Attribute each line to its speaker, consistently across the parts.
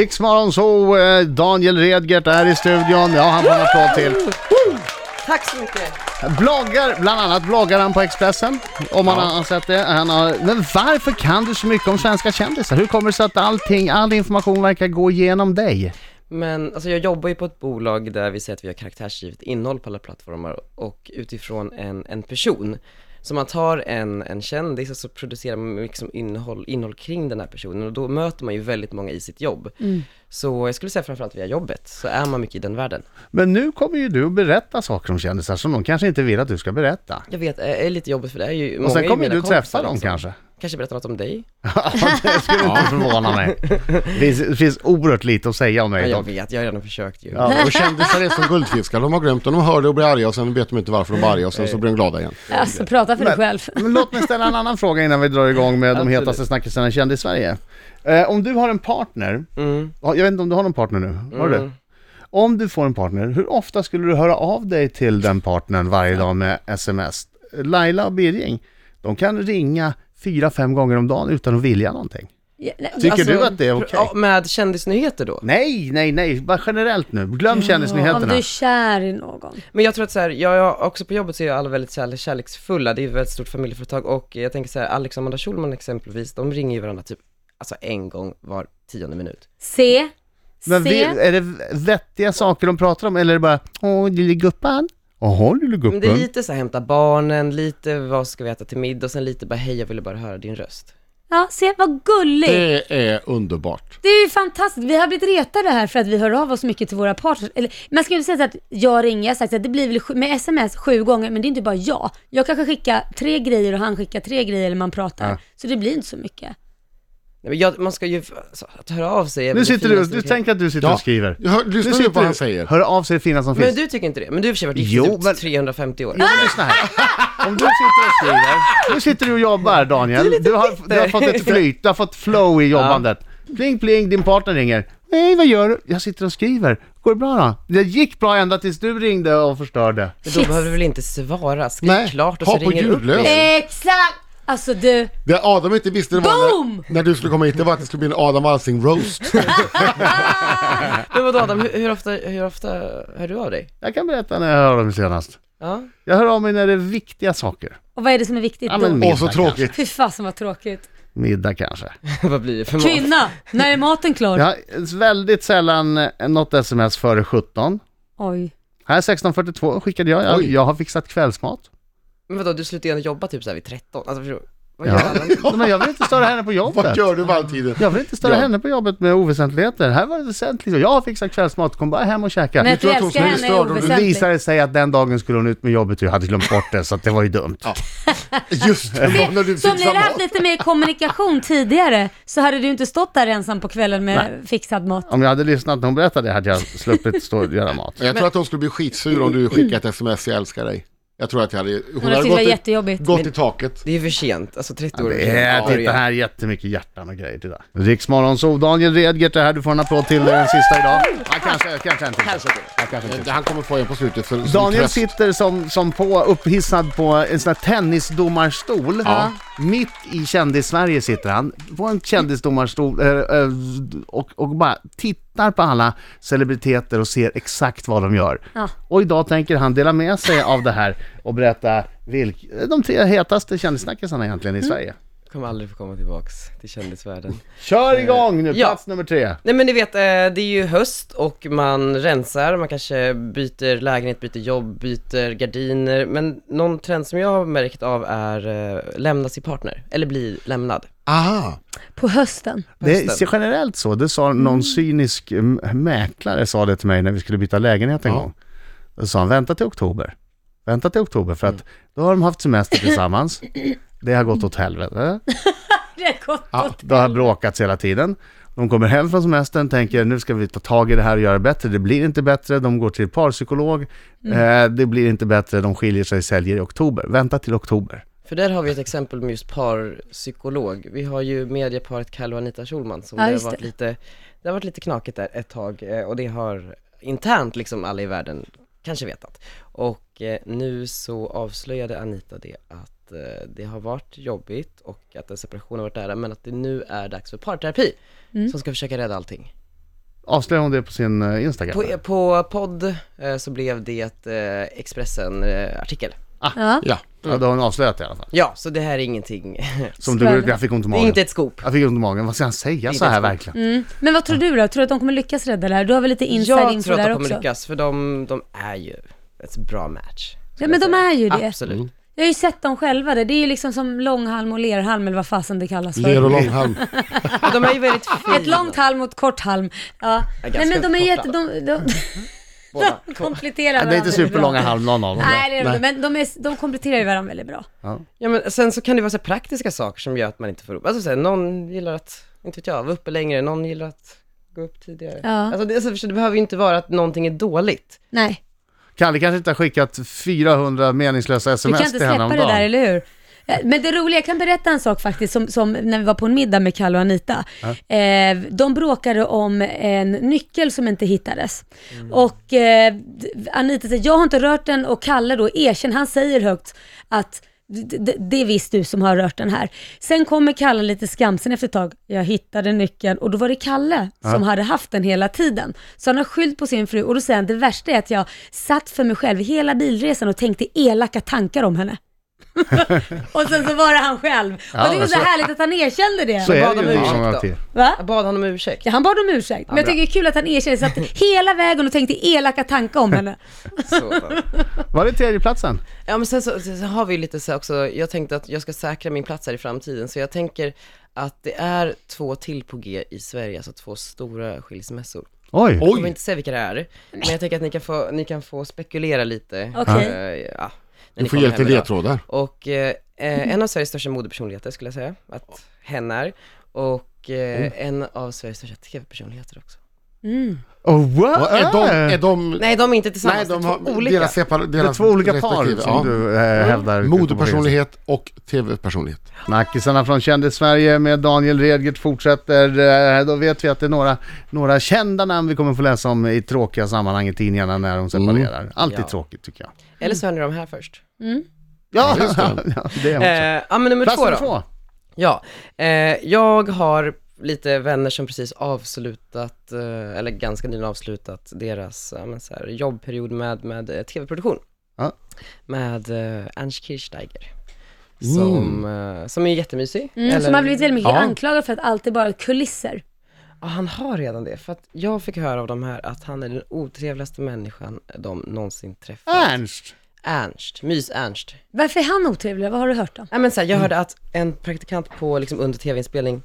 Speaker 1: Riksmorgon så, eh, Daniel Redgert är i studion. Ja, han får en applåd till.
Speaker 2: Tack så mycket.
Speaker 1: Bloggar, bland annat bloggar han på Expressen, om man har sett det. Han har, men varför kan du så mycket om svenska kändisar? Hur kommer det sig att allting, all information verkar gå genom dig?
Speaker 2: Men alltså jag jobbar ju på ett bolag där vi säger att vi har karaktärsgivet innehåll på alla plattformar och utifrån en, en person. Så man tar en, en kändis och så producerar man liksom innehåll, innehåll kring den här personen och då möter man ju väldigt många i sitt jobb. Så jag skulle säga framförallt via jobbet så är man mycket i den världen.
Speaker 1: Men nu kommer ju du att berätta saker om kändisar som de kanske inte vill att du ska berätta.
Speaker 2: Jag vet, det är lite jobbigt för det är ju många
Speaker 1: Och sen
Speaker 2: är ju
Speaker 1: kommer
Speaker 2: mina
Speaker 1: du
Speaker 2: kompisar
Speaker 1: träffa dem
Speaker 2: liksom.
Speaker 1: kanske.
Speaker 2: Kanske berätta något om dig?
Speaker 1: Ja, det skulle inte förvåna mig. Det finns, det finns oerhört lite att säga om
Speaker 2: Ja,
Speaker 1: mig
Speaker 2: jag
Speaker 1: dock.
Speaker 2: vet, jag har redan försökt ju.
Speaker 1: Ja.
Speaker 3: Och kändisar är som guldfiskar, de har glömt dem, de hör det och blir arga och sen vet de inte varför de blir arga och sen så blir de glada igen.
Speaker 4: Alltså prata för dig själv.
Speaker 1: Men låt mig ställa en annan fråga innan vi drar igång med de
Speaker 2: Absolut.
Speaker 1: hetaste snackisarna i kändis-Sverige. Eh, om du har en partner,
Speaker 2: Mm.
Speaker 1: ja, jag vet inte om du har någon partner nu, har du det?
Speaker 2: Mm.
Speaker 1: Om du får en partner, hur ofta skulle du höra av dig till den partnern varje dag med sms? Laila och Birging, de kan ringa fyra, fem gånger om dagen utan att vilja någonting.
Speaker 4: Ja, nej,
Speaker 1: Tycker
Speaker 4: alltså,
Speaker 1: du att det är okej?
Speaker 2: Ja, med kändisnyheter då?
Speaker 1: Nej, nej, nej, bara generellt nu. Glöm
Speaker 4: Om
Speaker 1: kändisnyheterna.
Speaker 4: du är kär i någon.
Speaker 2: Men jag tror att så här, jag, jag, också på jobbet så är alla väldigt kärle- kärleksfulla, det är ju ett väldigt stort familjeföretag och jag tänker så här, Alex och Amanda Schulman exempelvis, de ringer ju varandra typ, alltså en gång var tionde minut.
Speaker 4: Se,
Speaker 1: Men vi,
Speaker 4: se.
Speaker 1: är det vettiga saker de pratar om eller är det bara Åh, lille guppan? Jaha, lille
Speaker 2: Men det är
Speaker 1: guppan.
Speaker 2: lite så här, hämta barnen, lite vad ska vi äta till middag och sen lite bara hej jag ville bara höra din röst.
Speaker 4: Ja, se vad gullig.
Speaker 3: Det är underbart.
Speaker 4: Det är ju fantastiskt. Vi har blivit retade här för att vi hör av oss mycket till våra partners. Eller, man skulle säga så att jag ringer, jag har sagt att det blir väl sju, med sms sju gånger, men det är inte bara jag. Jag kanske skickar tre grejer och han skickar tre grejer eller man pratar.
Speaker 1: Ja.
Speaker 4: Så det blir inte så mycket.
Speaker 2: Nej, men jag, man ska ju, alltså, att höra av sig är väl
Speaker 1: Nu
Speaker 2: det
Speaker 1: sitter du,
Speaker 2: finaste
Speaker 1: du
Speaker 2: vi kan-
Speaker 1: tänker att du sitter
Speaker 3: Ja.
Speaker 1: och skriver.
Speaker 3: Jag hör,
Speaker 1: Nu
Speaker 3: lyssna nu
Speaker 1: sitter
Speaker 3: på vad han
Speaker 1: du-
Speaker 3: säger.
Speaker 1: Hör av sig det fina som
Speaker 2: Men
Speaker 1: finns.
Speaker 2: du tycker inte det? Men du har i och för sig varit gift
Speaker 1: Jo,
Speaker 2: i typ
Speaker 1: men-
Speaker 2: 350 år.
Speaker 1: Jo, men lyssna här. Om du sitter och skriver, nu sitter du och jobbar Daniel, du har, du har fått ett flyt, du har fått flow i jobbandet. Pling pling, din partner ringer. Nej, vad gör du? Jag sitter och skriver. Går det bra då? Det gick bra ända tills du ringde och förstörde.
Speaker 2: Men då behöver du väl inte svara, skriv
Speaker 3: Nej,
Speaker 2: klart och
Speaker 3: ha
Speaker 2: så
Speaker 3: på
Speaker 2: ringer du upp
Speaker 3: ljudlös.
Speaker 2: igen.
Speaker 4: Eh. Exakt! Alltså du,
Speaker 3: Det Adam inte visste det var
Speaker 4: Boom!
Speaker 3: när, när du skulle komma hit, det var att det skulle bli en Adam Alsing roast.
Speaker 2: Men vadå Adam, hur, hur, ofta, hur ofta hör du av dig?
Speaker 1: Jag kan berätta när jag hör dem senast.
Speaker 2: Ja.
Speaker 1: Jag hör av mig när det är viktiga saker.
Speaker 4: och vad är det som är viktigt
Speaker 1: Ja,
Speaker 4: då?
Speaker 1: men-
Speaker 3: Åh så tråkigt.
Speaker 4: Fy fasen vad tråkigt.
Speaker 1: Middag kanske.
Speaker 2: Vad blir det för mat?
Speaker 4: Kvinna, när är maten klar?
Speaker 1: Jag har väldigt sällan eh, något sms före 17.
Speaker 4: Oj.
Speaker 1: Här 16.42 skickade jag. Jag,
Speaker 3: Oj.
Speaker 1: jag har fixat kvällsmat.
Speaker 2: Men vadå, du slutar ju ändå jobba typ såhär vid 13? Alltså förstår du? Vad gör
Speaker 1: Ja.
Speaker 2: alla?
Speaker 1: Men jag vill inte störa henne på
Speaker 3: Vad
Speaker 1: jobbet.
Speaker 3: gör du valgtiden?
Speaker 1: Jag vill inte störa
Speaker 3: Ja.
Speaker 1: henne på jobbet med oväsentligheter. Här var det väsentligt. Jag har fixat kvällsmat, kom bara hem och käka.
Speaker 4: Men att du
Speaker 3: tror att hon
Speaker 4: älskar
Speaker 3: skulle
Speaker 4: henne
Speaker 3: störa
Speaker 4: är
Speaker 3: om du
Speaker 1: Nu
Speaker 4: oväsentligt.
Speaker 1: visade det sig att den dagen skulle hon ut med jobbet och jag hade glömt bort det, så att det var ju dumt.
Speaker 3: Just det,
Speaker 4: Det-
Speaker 3: när du
Speaker 4: Så om ni
Speaker 3: fixar
Speaker 4: hade haft
Speaker 3: mat.
Speaker 4: lite mer kommunikation tidigare så hade du inte stått där ensam på kvällen med fixad mat.
Speaker 1: Om jag hade lyssnat när hon berättade det hade jag sluppit stå och göra mat.
Speaker 3: Jag tror att hon skulle bli skitsur om du skickade ett sms, jag älskar dig. Jag tror att jag hade, hon,
Speaker 4: Hon hade
Speaker 3: hade
Speaker 4: tyckt det
Speaker 3: gått,
Speaker 4: var
Speaker 3: i,
Speaker 4: jättejobbigt.
Speaker 3: gått i taket.
Speaker 2: Det är ju för sent, alltså 30 år är för
Speaker 1: Det
Speaker 2: sent. Ja,
Speaker 1: är, titta
Speaker 2: det är.
Speaker 1: här, jättemycket hjärtan och grejer till det. Riksmorgon, så Daniel Redgert är här, du får en applåd till, det är den sista idag. Ja, kanske, kanske en till. Ja, kanske en till.
Speaker 3: Eh, Han kommer få en på slutet för, som
Speaker 1: Daniel
Speaker 3: tröst.
Speaker 1: sitter som, som på, upphissad på en sån här tennisdomarstol.
Speaker 3: Ja.
Speaker 1: Mitt i kändis-Sverige sitter han, på en kändisdomarstol eh, eh, och, och bara tittar på alla celebriteter och ser exakt vad de gör.
Speaker 4: Ja.
Speaker 1: Och idag tänker han dela med sig av det här och berätta vilk, de tre hetaste kändissnackisarna egentligen i Sverige.
Speaker 2: Kommer aldrig få komma tillbaks till kändisvärlden.
Speaker 3: Eh,
Speaker 1: Kör igång nu,
Speaker 2: ja.
Speaker 1: plats nummer tre.
Speaker 2: Nej men ni vet, eh, det är ju höst och man rensar, man kanske byter lägenhet, byter jobb, byter gardiner. Men någon trend som jag har märkt av är eh, lämna sin partner, eller bli lämnad.
Speaker 3: Aha.
Speaker 4: På hösten.
Speaker 1: Det
Speaker 2: Just
Speaker 1: är generellt så, det sa någon cynisk mm, mäklare sa det till mig när vi skulle byta lägenhet en
Speaker 3: Ja.
Speaker 1: gång. Då sa han, vänta till oktober. Vänta till oktober för
Speaker 2: Mm.
Speaker 1: att då har de haft semester tillsammans. Det har gått åt helvete.
Speaker 4: Det är gott.
Speaker 1: Det har bråkats hela tiden. De kommer hem från semestern tänker nu ska vi ta tag i det här och göra det bättre. Det blir inte bättre. De går till parpsykolog.
Speaker 2: Mm.
Speaker 1: Eh, det blir inte bättre. De skiljer sig, säljer i oktober. Vänta till oktober.
Speaker 2: För där har vi ett exempel med just parpsykolog. Vi har ju medieparet Kalle och Anita Schulman som
Speaker 4: Ja,
Speaker 2: det, har
Speaker 4: just
Speaker 2: varit
Speaker 4: det.
Speaker 2: Lite, det har varit lite knakigt där ett tag eh, och det har internt liksom alla i världen kanske vetat. Och eh, nu så avslöjade Anita det att eh, det har varit jobbigt
Speaker 4: Mm.
Speaker 2: och att en separation har varit nära men att det nu är dags för parterapi som ska försöka rädda allting.
Speaker 1: Avslöjar hon det på sin eh, Instagram?
Speaker 2: På, e- på podd eh, så blev det eh, Expressen-artikel.
Speaker 4: Ja.
Speaker 3: Ja.
Speaker 1: Ja, då har hon avslöjat det i alla fall.
Speaker 2: Ja, så det här är ingenting,
Speaker 1: Som du, jag fick ont i
Speaker 2: det är
Speaker 1: magen.
Speaker 2: inte ett scoop.
Speaker 1: Jag fick ont i magen. Vad ska han säga så
Speaker 2: inte
Speaker 1: här
Speaker 2: ett skit.
Speaker 1: verkligen?
Speaker 4: Mm. Men vad tror du då? Tror du att de kommer lyckas rädda det här? Du har väl lite inside
Speaker 2: Jag
Speaker 4: info
Speaker 2: tror att
Speaker 4: där
Speaker 2: de kommer
Speaker 4: också?
Speaker 2: lyckas, för de, de är ju ett bra match.
Speaker 4: Ja, men de är ju det.
Speaker 2: Absolut.
Speaker 4: Jag har ju sett dem själva där. Det är ju liksom som långhalm och lerhalm eller vad fasen det kallas för.
Speaker 3: Ler och långhalm.
Speaker 2: Och de är ju väldigt fina.
Speaker 4: Ett långt halm och ett kort halm. Ja.
Speaker 2: Ja,
Speaker 4: Nej men
Speaker 2: ganska
Speaker 4: de är jätte...
Speaker 2: korta.
Speaker 4: De, de,
Speaker 2: Båda.
Speaker 4: de kompletterar varandra.
Speaker 1: Det är inte
Speaker 4: väldigt bra.
Speaker 1: superlånga halm någon av dem.
Speaker 4: Nej, det är de inte, men de, är, de kompletterar ju varandra väldigt bra.
Speaker 2: Ja men sen så kan det vara så här praktiska saker som gör att man inte får upp, alltså så här, någon gillar att, inte vet jag, vara uppe längre, någon gillar att gå upp tidigare.
Speaker 4: Ja.
Speaker 2: Alltså, det, alltså förstår du, det behöver ju inte vara att någonting är dåligt.
Speaker 4: Nej,
Speaker 1: Kalle kanske inte har skickat 400 meningslösa
Speaker 4: du kan
Speaker 1: sms
Speaker 4: inte
Speaker 1: till henne
Speaker 4: släppa
Speaker 1: om
Speaker 4: det där,
Speaker 1: dagen.
Speaker 4: eller hur? Eh, Men det roliga, jag kan berätta en sak faktiskt, som, som när vi var på en middag med Kalle och Anita. Eh, de bråkade om en nyckel som inte hittades. Och eh, d- Anita säger, jag har inte rört den och Kalle då erkänner, han säger högt att "D- d- det är visst du som har rört den här. Sen kommer Kalle lite skamsen efter ett tag. Jag hittade nyckeln och då var det Kalle som hade haft den hela tiden. Så han har skyllt på sin fru och då säger han, det värsta är att jag satt för mig själv hela bilresan och tänkte elaka tankar om henne. och sen så var det han själv.
Speaker 1: Ja,
Speaker 4: och det var
Speaker 1: men
Speaker 4: så,
Speaker 1: så-
Speaker 4: härligt att han erkände det.
Speaker 1: Så är
Speaker 2: Vad
Speaker 1: det
Speaker 2: de
Speaker 1: ju
Speaker 2: ursäktar.
Speaker 1: många till.
Speaker 4: Va?
Speaker 2: Jag bad honom om ursäkt.
Speaker 4: Ja, han bad om ursäkt. men jag
Speaker 2: bra.
Speaker 4: tycker det är kul att han erkänner sig att hela vägen och tänkte elaka tankar om henne.
Speaker 2: Så.
Speaker 1: Var det tredjeplatsen?
Speaker 2: Ja men sen så, så har vi ju lite så här också, jag tänkte att jag ska säkra min plats här i framtiden, så jag tänker att det är två till på G i Sverige, alltså två stora skilsmässor.
Speaker 1: Oj!
Speaker 2: Jag kommer
Speaker 3: Oj,
Speaker 2: inte säga vilka det är, men jag tänker att ni kan få, ni kan få spekulera lite.
Speaker 4: Okej.
Speaker 2: eh, ja, när
Speaker 3: du
Speaker 2: ni
Speaker 3: får
Speaker 2: kommer
Speaker 3: ge lite
Speaker 2: hem idag.
Speaker 3: ledtrådar.
Speaker 2: Och eh, eh, en av Sveriges största modepersonligheter skulle jag säga att hen är. Och eh, en av Sveriges största tv-personligheter också.
Speaker 4: Mm.
Speaker 1: Oh, wow.
Speaker 3: Vad Är de, är de,
Speaker 2: Nej, de är inte
Speaker 3: nej,
Speaker 2: tillsammans,
Speaker 3: de
Speaker 2: det är två
Speaker 3: har
Speaker 2: olika.
Speaker 3: deras, separ,
Speaker 1: Det är
Speaker 3: deras
Speaker 1: två olika par
Speaker 3: respektive,
Speaker 1: som du eh, hävdar.
Speaker 3: Modepersonlighet och tv-personlighet.
Speaker 1: Snackisarna från Kändis-Sverige med Daniel Redgert fortsätter. Eh, Då vet vi att det är några, några kända namn vi kommer få läsa om i tråkiga sammanhang i tidningarna när de separerar. Alltid
Speaker 2: Ja.
Speaker 1: tråkigt tycker jag.
Speaker 2: Eller så hör ni dem här först.
Speaker 4: Mm,
Speaker 1: Ja,
Speaker 3: just
Speaker 1: ja,
Speaker 3: det.
Speaker 1: det är
Speaker 2: Eh,
Speaker 1: också.
Speaker 2: ja, men nummer
Speaker 1: Plats
Speaker 2: två
Speaker 1: nummer
Speaker 2: då.
Speaker 1: två.
Speaker 2: Ja, eh, jag har lite vänner som precis avslutat, eh, eller ganska nyligen avslutat deras ja, men så här, jobbperiod med, med eh, tv-produktion.
Speaker 1: Ja.
Speaker 2: Med eh, Ernst Kirchsteiger.
Speaker 1: Mm.
Speaker 2: Som, eh, som är jättemysig.
Speaker 4: Mm,
Speaker 2: Eller-
Speaker 4: Som har blivit väldigt mycket
Speaker 3: Ja.
Speaker 4: anklagad för att allt är bara kulisser.
Speaker 2: Ja, han har redan det. För att jag fick höra av de här att han är den otrevligaste människan de någonsin träffat.
Speaker 1: Ernst!
Speaker 2: Ernst, mys-Ernst.
Speaker 4: Varför är han otrevlig? Vad har du hört då?
Speaker 2: Ja, men så
Speaker 1: Mm.
Speaker 2: här, jag hörde att en praktikant på, liksom, under tv-inspelning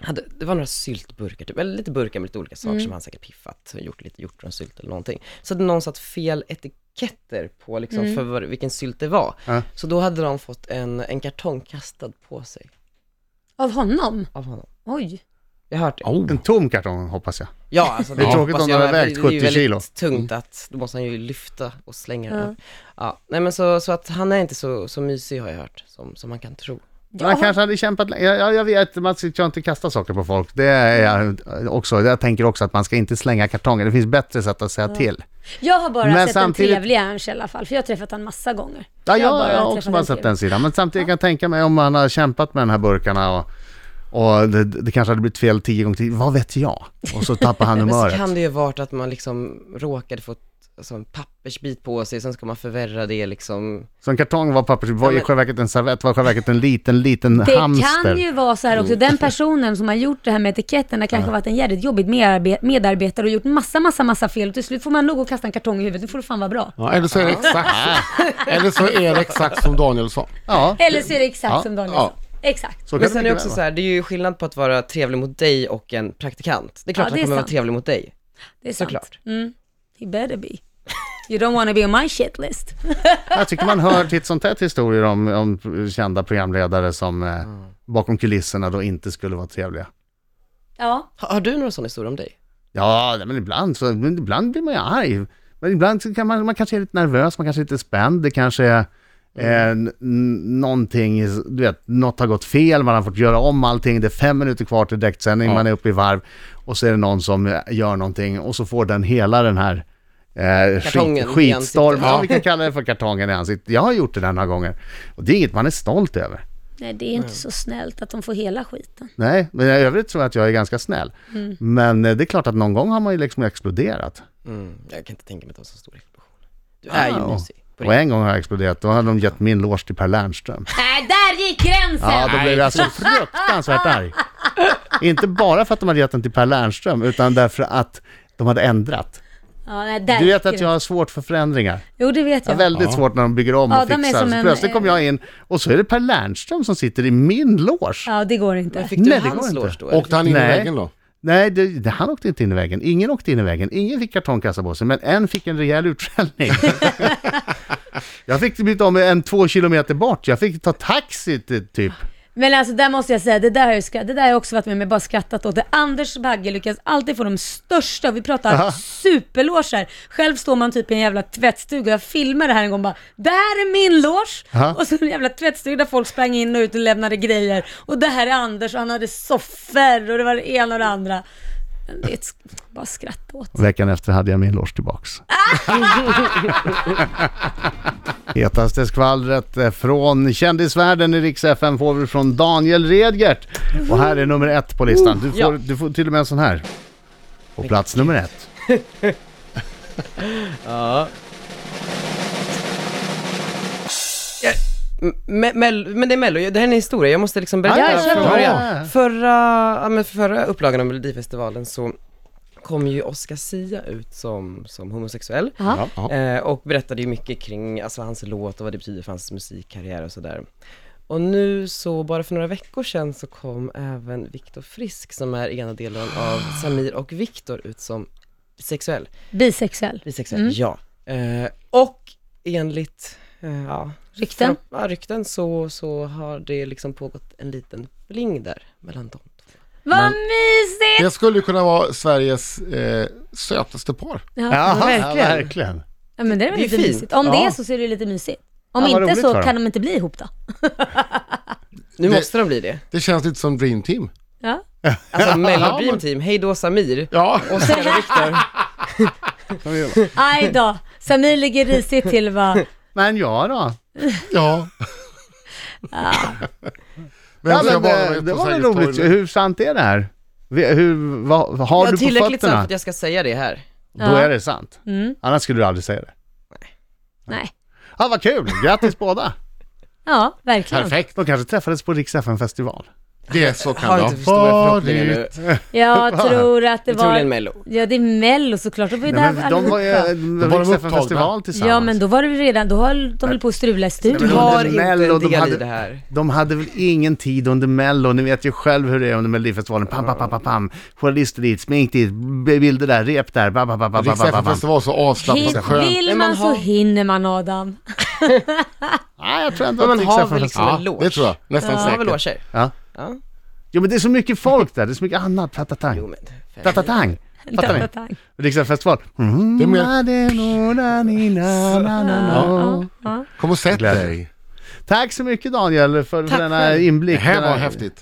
Speaker 2: hade, det var några syltburkar typ, eller lite burkar med lite olika saker
Speaker 1: Mm.
Speaker 2: som han säkert piffat, gjort lite hjortronsylt eller någonting. Så hade någon satt fel etiketter på liksom, för vad, vilken sylt det var.
Speaker 1: Mm. Ja.
Speaker 2: Så då hade de fått en, en kartong kastad på sig
Speaker 4: Av honom?
Speaker 2: av honom.
Speaker 4: Oj.
Speaker 2: Jag har hört det.
Speaker 1: En tom kartong hoppas jag.
Speaker 2: Ja, alltså
Speaker 1: Det är tråkigt
Speaker 2: hoppas
Speaker 1: om
Speaker 2: jag.
Speaker 1: den har vägt
Speaker 2: Det är ju
Speaker 1: 70 kilo. Mm.
Speaker 2: väldigt tungt att, då måste han ju lyfta och slänga den. Ja, nej men så, så att han är inte så, så mysig har jag hört, som, som man kan tro.
Speaker 1: Men han kanske hade kämpat länge. Jag, jag, jag vet, man ska ju inte kasta saker på folk. Det är jag också. Jag tänker också att man ska inte slänga kartonger. Det finns bättre sätt att säga till.
Speaker 4: Jag har bara
Speaker 1: Men
Speaker 4: sett
Speaker 1: samtidigt-
Speaker 4: en trevlig Ernst i alla fall, för jag har träffat han massa gånger.
Speaker 1: Ja,
Speaker 4: Jag
Speaker 1: jag,
Speaker 4: har bara
Speaker 1: jag har också
Speaker 4: träffat
Speaker 1: bara
Speaker 4: en
Speaker 1: sett
Speaker 4: till.
Speaker 1: den sidan. Men samtidigt kan jag tänka mig om man har kämpat med de här burkarna och, och det, det kanske hade blivit fel tio gånger till. Vad vet jag? Och så tappar han
Speaker 2: Men så
Speaker 1: humöret.
Speaker 2: kan det ju varit att man liksom råkade få ett- alltså en pappersbit på sig, sen ska man förvärra det liksom.
Speaker 1: Så en kartong var papper,
Speaker 2: Ja,
Speaker 1: var i
Speaker 2: men-
Speaker 1: själva verket en servett, var i själva verket en liten, liten
Speaker 4: Det
Speaker 1: hamster.
Speaker 4: kan ju vara så här också, den personen som har gjort det här med etiketterna kanske har varit en jävligt jobbig medarbe- medarbetare och gjort massa, massa, massa fel och till slut får man nog gå och kasta en kartong i huvudet, nu får det fan vara bra.
Speaker 3: Ja, eller, så
Speaker 1: Ah.
Speaker 3: är det exakt, eller så är det exakt som Daniel sa.
Speaker 1: Ja,
Speaker 4: Eller så är det exakt
Speaker 1: Ja,
Speaker 4: som Daniel sa.
Speaker 3: ja.
Speaker 4: Exakt.
Speaker 1: så kan det
Speaker 2: Men sen är det
Speaker 1: mycket
Speaker 2: också
Speaker 1: väl
Speaker 2: så här, det är ju skillnad på att vara trevlig mot dig och en praktikant. Det är klart
Speaker 4: Ja,
Speaker 2: att han
Speaker 4: det är
Speaker 2: kommer vara
Speaker 4: sant.
Speaker 2: trevlig mot dig.
Speaker 4: Det är sant.
Speaker 2: Såklart.
Speaker 4: Mm. He better be. You don't wanna be on my shit list.
Speaker 1: vara. Jag tycker man hör titt som tätt historier om, om kända programledare som eh, bakom kulisserna då inte skulle vara trevliga.
Speaker 4: Ja.
Speaker 2: Har, har du några sådana historier om dig?
Speaker 1: Ja, nej, men ibland, så, men ibland blir man ju arg. Men ibland så kan man, man kanske är lite nervös, man kanske är lite spänd, det kanske är
Speaker 2: Mm.
Speaker 1: eh, n- n- någonting, du vet, något har gått fel, man har fått göra om allting, det är fem minuter kvar till direktsändning,
Speaker 3: Ja.
Speaker 1: man är uppe i varv och så är det någon som eh, gör någonting och så får den hela den här Eh,
Speaker 2: Kartongen i
Speaker 1: skit, skitstorm,
Speaker 2: ansiktet.
Speaker 1: ja, vi kan kalla det för kartongen i ansiktet. Jag har gjort det där några gånger. Och det är inget man är stolt över.
Speaker 4: Nej, det är inte så snällt att de får hela skiten.
Speaker 1: Nej, men i övrigt tror jag att jag är ganska snäll. Men eh, det är klart att någon gång har man ju liksom exploderat.
Speaker 2: Mm, jag kan inte tänka mig att det var så stor explosion. Du är ju
Speaker 1: Ja.
Speaker 2: mysig. på
Speaker 1: Och en gång har jag exploderat, då hade de gett min lås till Per Lernström.
Speaker 4: Nej, där gick gränsen!
Speaker 1: Ja, då blev jag så fruktansvärt arg. Inte bara för att de hade gett den till Per Lernström, utan därför att de hade ändrat.
Speaker 4: Ja, nej, där
Speaker 1: Du vet
Speaker 4: gick
Speaker 1: att jag har svårt för förändringar.
Speaker 4: Jo, det vet
Speaker 1: Jag
Speaker 4: jag.
Speaker 1: har väldigt svårt när de bygger om och
Speaker 4: Ja, de är
Speaker 1: fixar.
Speaker 4: som
Speaker 1: Så
Speaker 4: en- eh,
Speaker 1: plötsligt kom jag in och så är det Per Lernström som sitter i min loge.
Speaker 4: Ja, det går inte.
Speaker 2: Men fick du
Speaker 1: Nej, det går
Speaker 2: hans
Speaker 1: inte.
Speaker 2: lås då? eller?
Speaker 3: Åkte han in
Speaker 1: Nej.
Speaker 3: i väggen då?
Speaker 1: Nej, det, det, han åkte inte in i väggen. Ingen åkte in i väggen. Ingen fick kartongkassa på sig, men en fick en rejäl utskällning. jag fick byta om en två kilometer bort. Jag fick ta taxi till, typ.
Speaker 4: Men alltså där måste jag säga, det där har jag, skratt, det där har jag också varit med om, jag bara skrattat åt. Det. Anders Bagge lyckas alltid få de största, vi pratar superloger. Själv står man typ i en jävla tvättstuga, jag filmar det här en gång bara, det här är min loge!
Speaker 1: Aha.
Speaker 4: Och så en jävla tvättstuga där folk sprang in och ut och lämnade grejer. Och det här är Anders och han hade soffor och det var det ena och det andra. Men Det är ett, sk- bara skratta åt.
Speaker 1: Veckan efter hade jag min loge tillbaks. Hetaste skvallret eh, från kändisvärlden i Rix FM får vi från Daniel Redgert. Och här är nummer ett på listan. Du får,
Speaker 2: Oh, Ja.
Speaker 1: du får till och med en sån här. På plats nummer ett.
Speaker 2: Ja. Ja, me- mel- men det är Mello, det här är en historia, jag måste liksom berätta
Speaker 1: Ja, jag
Speaker 2: från
Speaker 1: köper
Speaker 2: början.
Speaker 1: det.
Speaker 2: Förra, ja, men förra upplagan av Melodifestivalen så kom ju Oscar Sia ut som, som homosexuell.
Speaker 4: Ja.
Speaker 3: Ja.
Speaker 2: Eh, och berättade ju mycket kring alltså, hans låt och vad det betyder för hans musikkarriär och sådär. Och nu så, bara för några veckor sedan så kom även Viktor Frisk som är ena delen av Samir och Viktor ut som sexuell.
Speaker 4: Bisexuell.
Speaker 2: Bisexuell, ja. Eh, och enligt eh, ja,
Speaker 4: Rykten?
Speaker 2: för- ja, rykten så, så har det liksom pågått en liten fling där mellan dem.
Speaker 4: Vad mysigt!
Speaker 3: Det skulle ju kunna vara Sveriges eh, sötaste par.
Speaker 4: Ja,
Speaker 1: Jaha,
Speaker 2: verkligen.
Speaker 1: Ja, verkligen.
Speaker 4: Ja, men det är väl
Speaker 2: Det är
Speaker 4: lite
Speaker 2: fint.
Speaker 4: mysigt. Om det
Speaker 1: Ja.
Speaker 4: är så så är det lite mysigt. Om
Speaker 1: Ja, vad
Speaker 4: inte
Speaker 1: roligt
Speaker 4: så
Speaker 1: för dem.
Speaker 4: kan de inte bli ihop då.
Speaker 2: Nu
Speaker 3: Det-
Speaker 2: måste de bli det.
Speaker 3: Det känns lite som Dream Team.
Speaker 4: Ja.
Speaker 2: Alltså Mello Dream Team, hej då Samir.
Speaker 3: Ja,
Speaker 2: Och sen Viktor.
Speaker 4: Aj då. Samir ligger risigt till va?
Speaker 1: Men ja då.
Speaker 3: ja.
Speaker 1: Ah.
Speaker 3: Vem
Speaker 1: Ja,
Speaker 3: ska
Speaker 1: men,
Speaker 3: vara
Speaker 1: det,
Speaker 3: med
Speaker 1: det
Speaker 3: på
Speaker 1: var väl
Speaker 3: Sergels torg
Speaker 1: roligt.
Speaker 3: nu?
Speaker 1: Hur sant är det här? Vi- Hur, vad, vad har
Speaker 2: Jag
Speaker 1: du
Speaker 2: har
Speaker 1: på
Speaker 2: tillräckligt sant för
Speaker 1: fötterna?
Speaker 2: att jag ska säga det här.
Speaker 1: Då
Speaker 4: Ja.
Speaker 1: är det sant.
Speaker 4: Mm.
Speaker 1: Annars skulle du aldrig säga det.
Speaker 4: Nej.
Speaker 1: Ja, vad kul! Grattis båda!
Speaker 4: Ja, verkligen.
Speaker 1: Perfekt! De kanske träffades på Rix festival
Speaker 3: Det är så
Speaker 2: Har
Speaker 3: kan det
Speaker 2: inte
Speaker 3: ha
Speaker 2: för stora förhoppningar nu.
Speaker 3: varit.
Speaker 4: Jag tror att det
Speaker 2: Det Troligen
Speaker 4: var...
Speaker 2: Mello.
Speaker 4: Ja, det är Mello såklart. Det var ju
Speaker 1: Nej,
Speaker 4: där
Speaker 1: men de var ju
Speaker 4: allihopa.
Speaker 3: var de
Speaker 1: Rix festival tillsammans.
Speaker 4: Ja, men då var det väl redan... Då höll de väl på att strula i
Speaker 2: Du
Speaker 1: men
Speaker 4: studion.
Speaker 1: då-
Speaker 2: har
Speaker 1: under
Speaker 2: inte en
Speaker 1: Mello, de
Speaker 2: del i
Speaker 1: hade-
Speaker 2: det här.
Speaker 1: De hade väl ingen tid under Mello, ni vet ju själv hur det är under Melodifestivalen. Pam, pam, pam, pam, pam. Journalister dit, smink dit, bilder där, rep där, bam, bam, bam, bam, bam,
Speaker 3: Riks
Speaker 1: bam, bam.
Speaker 3: FN-festival så avslappnat och
Speaker 4: Hin-
Speaker 3: skönt.
Speaker 4: Vill
Speaker 2: Men
Speaker 4: man
Speaker 2: man
Speaker 4: så
Speaker 2: har-
Speaker 4: hinner man Adam.
Speaker 1: Ja, jag tror ändå
Speaker 2: Men
Speaker 1: att
Speaker 2: man har väl
Speaker 1: Rix
Speaker 2: liksom en
Speaker 3: Ja,
Speaker 2: loge?
Speaker 3: det tror jag. Nästan
Speaker 2: Han har väl
Speaker 3: säkert.
Speaker 2: loger?
Speaker 1: Ja.
Speaker 2: Ja.
Speaker 1: Jo, men det är så mycket folk där, det är så mycket annat, tatatang.
Speaker 2: Jo men.
Speaker 1: Tatatang! Liksom Fattar ni?
Speaker 4: Tatatang.
Speaker 1: Riksdagsfestival.
Speaker 3: Det är mer-
Speaker 1: mer...
Speaker 4: Ja.
Speaker 3: Kom och sätt
Speaker 1: Glädje.
Speaker 3: dig.
Speaker 1: Tack så mycket Daniel för, för denna
Speaker 2: själv.
Speaker 1: inblick.
Speaker 3: Det här var
Speaker 1: Denna-
Speaker 3: häftigt.